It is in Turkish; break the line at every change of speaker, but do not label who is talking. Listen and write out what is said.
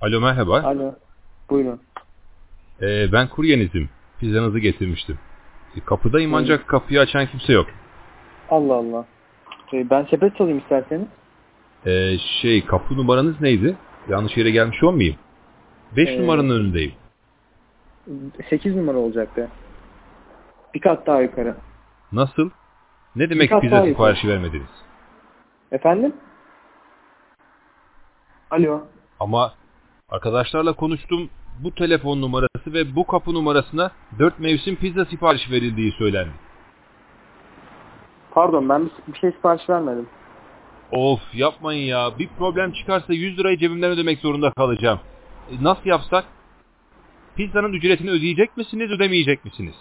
Alo merhaba.
Alo. Buyurun.
Ee, ben kuryenizim. Pizzanızı getirmiştim. E, Kapıdayım
Buyurun.
ancak kapıyı açan kimse yok.
Allah Allah. Ee, ben sepet çalayım isterseniz.
Ee, şey kapı numaranız neydi? Yanlış yere gelmiş olmayayım. 5
Ee,
numaranın önündeyim.
8 numara olacaktı. Bir kat daha yukarı.
Nasıl? Ne demek
kat
pizza
daha yukarı.
siparişi vermediniz?
Efendim? Alo.
Ama arkadaşlarla konuştum. Bu telefon numarası ve bu kapı numarasına 4 mevsim pizza siparişi verildiği söylendi.
Pardon ben bir, bir şey sipariş vermedim.
Of yapmayın ya. Bir problem çıkarsa 100 lirayı cebimden ödemek zorunda kalacağım. E, nasıl yapsak? Pizzanın ücretini ödeyecek misiniz, ödemeyecek misiniz?